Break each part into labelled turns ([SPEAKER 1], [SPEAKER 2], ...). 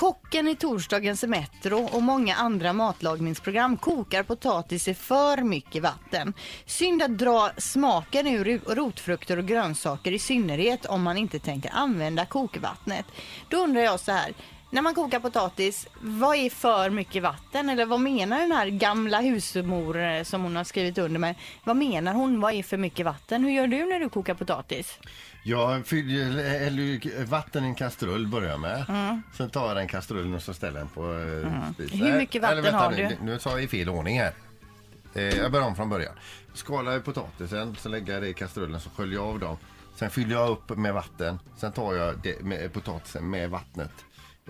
[SPEAKER 1] Kocken i torsdagens Metro och många andra matlagningsprogram kokar potatis i för mycket vatten. Synd att dra smaken ur ru- rotfrukter och grönsaker i synnerhet om man inte tänker använda kokvattnet. Då undrar jag så här, när man kokar potatis, vad är för mycket vatten? Eller vad menar den här gamla husmor eh, som hon har skrivit under med? Vad menar hon? Vad är för mycket vatten? Hur gör du när du kokar potatis?
[SPEAKER 2] Jag fyller häller ju vatten i en kastrull börjar med. Sen tar jag den kastrullen och så ställer jag den på eh, spisen.
[SPEAKER 1] Mm. Hur mycket vatten
[SPEAKER 2] Eller vänta,
[SPEAKER 1] har
[SPEAKER 2] nu,
[SPEAKER 1] du?
[SPEAKER 2] Nu sa jag i fel ordning här. Eh, jag börjar om från början. Skalar jag potatisen, så lägger jag det i kastrullen, så sköljer jag av dem. Sen fyller jag upp med vatten. Sen tar jag det med potatisen med vattnet.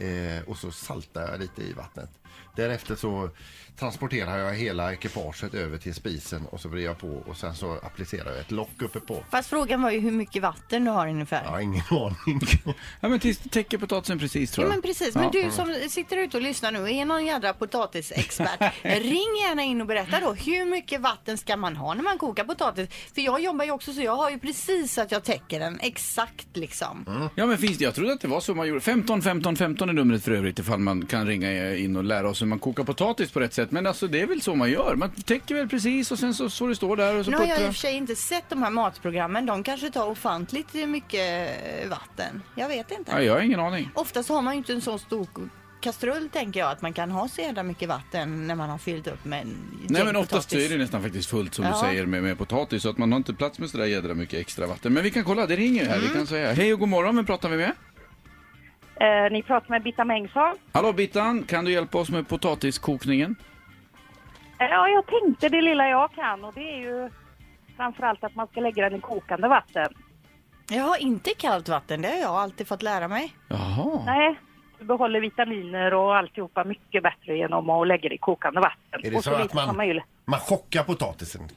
[SPEAKER 2] Eh, och så saltar jag lite i vattnet. Därefter så transporterar jag hela ekipaget över till spisen och så vrider jag på och sen så applicerar jag ett lock uppe på.
[SPEAKER 1] Fast frågan var ju hur mycket vatten du har ungefär.
[SPEAKER 2] Jag har ingen aning.
[SPEAKER 3] Ja, men tills det täcker potatisen precis tror
[SPEAKER 1] Ja,
[SPEAKER 3] jag.
[SPEAKER 1] men precis. Men
[SPEAKER 3] Ja.
[SPEAKER 1] du som sitter ute och lyssnar nu, är någon jädra potatisexpert, ring gärna in och berätta då hur mycket vatten ska man ha när man kokar potatis? För jag jobbar ju också så jag har ju precis så att jag täcker den exakt liksom.
[SPEAKER 3] Ja, men finns det? Jag trodde att det var så man gjorde. 15 15 15 är numret för övrigt ifall man kan ringa in och lära oss hur man kokar potatis på rätt sätt. Men alltså det är väl så man gör. Man täcker väl precis och sen så, så det står där och så
[SPEAKER 1] Nu har jag i
[SPEAKER 3] puttrar-
[SPEAKER 1] och för sig inte sett de här matprogrammen, de kanske tar ofantligt mycket eh, vatten. Jag vet inte.
[SPEAKER 3] Ja, jag har ingen aning.
[SPEAKER 1] Oftast har man ju inte en så stor k- kastrull tänker jag att man kan ha så jädra mycket vatten när man har fyllt upp med en
[SPEAKER 3] Nej
[SPEAKER 1] gäng
[SPEAKER 3] men oftast så
[SPEAKER 1] potatis.
[SPEAKER 3] är det nästan faktiskt fullt som
[SPEAKER 1] Ja.
[SPEAKER 3] du säger med, med potatis så att man har inte plats med sådär jädra mycket extra vatten. Men vi kan kolla, det ringer ju här.
[SPEAKER 1] Mm.
[SPEAKER 3] Vi kan säga hej och god morgon, vem pratar vi med?
[SPEAKER 4] Eh, ni pratar med Bitta Mengsson.
[SPEAKER 3] Hallå Bittan, kan du hjälpa oss med potatiskokningen?
[SPEAKER 4] Eh, ja, jag tänkte det lilla jag kan och det är ju framförallt att man ska lägga den i kokande vatten.
[SPEAKER 1] Jag har inte kallt vatten, det har jag alltid fått lära mig.
[SPEAKER 3] Jaha.
[SPEAKER 4] Nej, du behåller vitaminer och alltihopa mycket bättre genom att lägga det i kokande vatten.
[SPEAKER 2] Är det
[SPEAKER 4] och
[SPEAKER 2] så,
[SPEAKER 4] vidare
[SPEAKER 2] att man,
[SPEAKER 4] kan
[SPEAKER 2] man,
[SPEAKER 4] ju,
[SPEAKER 2] chockar potatisen?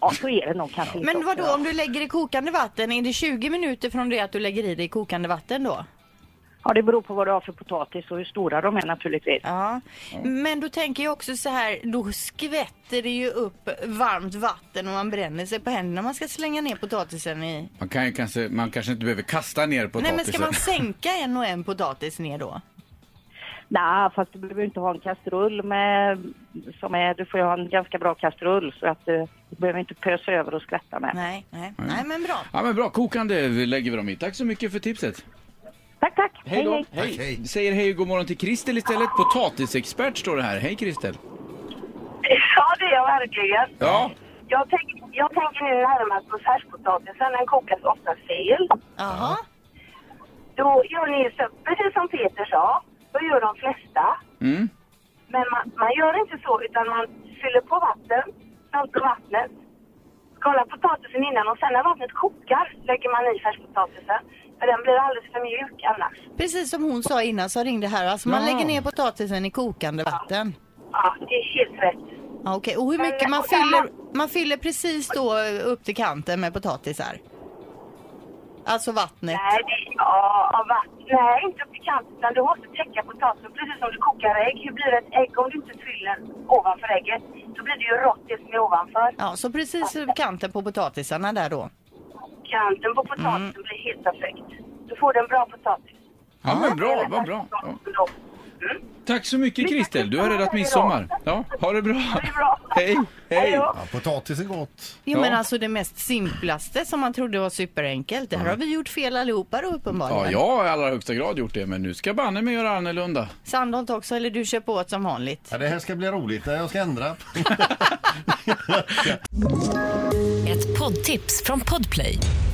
[SPEAKER 4] ja, så är det nog kanske lite
[SPEAKER 1] Men
[SPEAKER 4] också,
[SPEAKER 1] vad då
[SPEAKER 4] ja.
[SPEAKER 1] om du lägger i kokande vatten, är det 20 minuter från det att du lägger i det i kokande vatten då?
[SPEAKER 4] Ja, det beror på vad du har för potatis och hur stora de är naturligtvis.
[SPEAKER 1] Ja. Mm. Men då tänker jag också så här, då skvätter det ju upp varmt vatten och man bränner sig på händerna om man ska slänga ner potatisen i.
[SPEAKER 3] Man, kan ju kanske, man kanske inte behöver kasta ner potatisen.
[SPEAKER 1] Nej men ska man sänka en och en potatis ner då?
[SPEAKER 4] Nej, fast du behöver inte ha en kastrull med, som är, du får ju ha en ganska bra kastrull så att du, du behöver inte pösa över och skvätta med.
[SPEAKER 1] Nej, nej, nej men bra.
[SPEAKER 3] Ja men bra, kokande lägger vi dem i. Tack så mycket för tipset.
[SPEAKER 4] Tack, tack!
[SPEAKER 3] Hej då.
[SPEAKER 2] Hej, hej.
[SPEAKER 3] Vi säger hej och god morgon till Kristel istället. Potatisexpert står det här. Hej Kristel.
[SPEAKER 5] Ja, det är jag verkligen.
[SPEAKER 3] Ja.
[SPEAKER 5] Jag, tänk, jag tänker nu det här med att färskpotatisen den kokas ofta fel.
[SPEAKER 1] Jaha.
[SPEAKER 5] Då gör ni så, precis som Peter sa, då gör de flesta.
[SPEAKER 3] Mm.
[SPEAKER 5] Men man, man gör inte så, utan man fyller på vatten, saltar vattnet, skalar potatisen innan och sen när vattnet kokar lägger man i färskpotatisen. För den blir alldeles för mjuk annars.
[SPEAKER 1] Precis som hon sa innan så ringde här, alltså man
[SPEAKER 3] Ja.
[SPEAKER 1] lägger ner potatisen i kokande vatten.
[SPEAKER 5] Ja, det är helt rätt.
[SPEAKER 1] Ja, Okej, och hur mycket man fyller, man fyller precis då upp till kanten med potatisar? Alltså vattnet.
[SPEAKER 5] Nej, det, ja, av vatten. Nej, inte upp till kanten, utan du måste täcka potatisen precis som du kokar ägg. Hur blir ett ägg om du inte fyller ovanför ägget? Då blir det ju rått det som är ovanför.
[SPEAKER 1] Ja, så precis över kanten på potatisarna där då.
[SPEAKER 5] Kanten på potatisen
[SPEAKER 3] Mm.
[SPEAKER 5] blir helt perfekt. Du får en bra potatis.
[SPEAKER 3] Ja men bra, vad bra. Ja.
[SPEAKER 5] Ja.
[SPEAKER 3] Tack så mycket Kristel, du har räddat midsommar. Ja, ha det bra. Hej, hej.
[SPEAKER 5] då.
[SPEAKER 2] Ja, potatis är gott.
[SPEAKER 1] Jo
[SPEAKER 3] Ja.
[SPEAKER 1] men alltså det mest simplaste som man trodde var superenkelt. Det här har vi gjort fel allihopa då uppenbarligen.
[SPEAKER 3] Mm. Ja, jag har i allra högsta grad gjort det, men nu ska banne mig göra annorlunda.
[SPEAKER 1] Sandholt också, eller du kör på åt som vanligt.
[SPEAKER 2] Ja, det här ska bli roligt när jag ska ändra.
[SPEAKER 6] Ett poddtips från Podplay.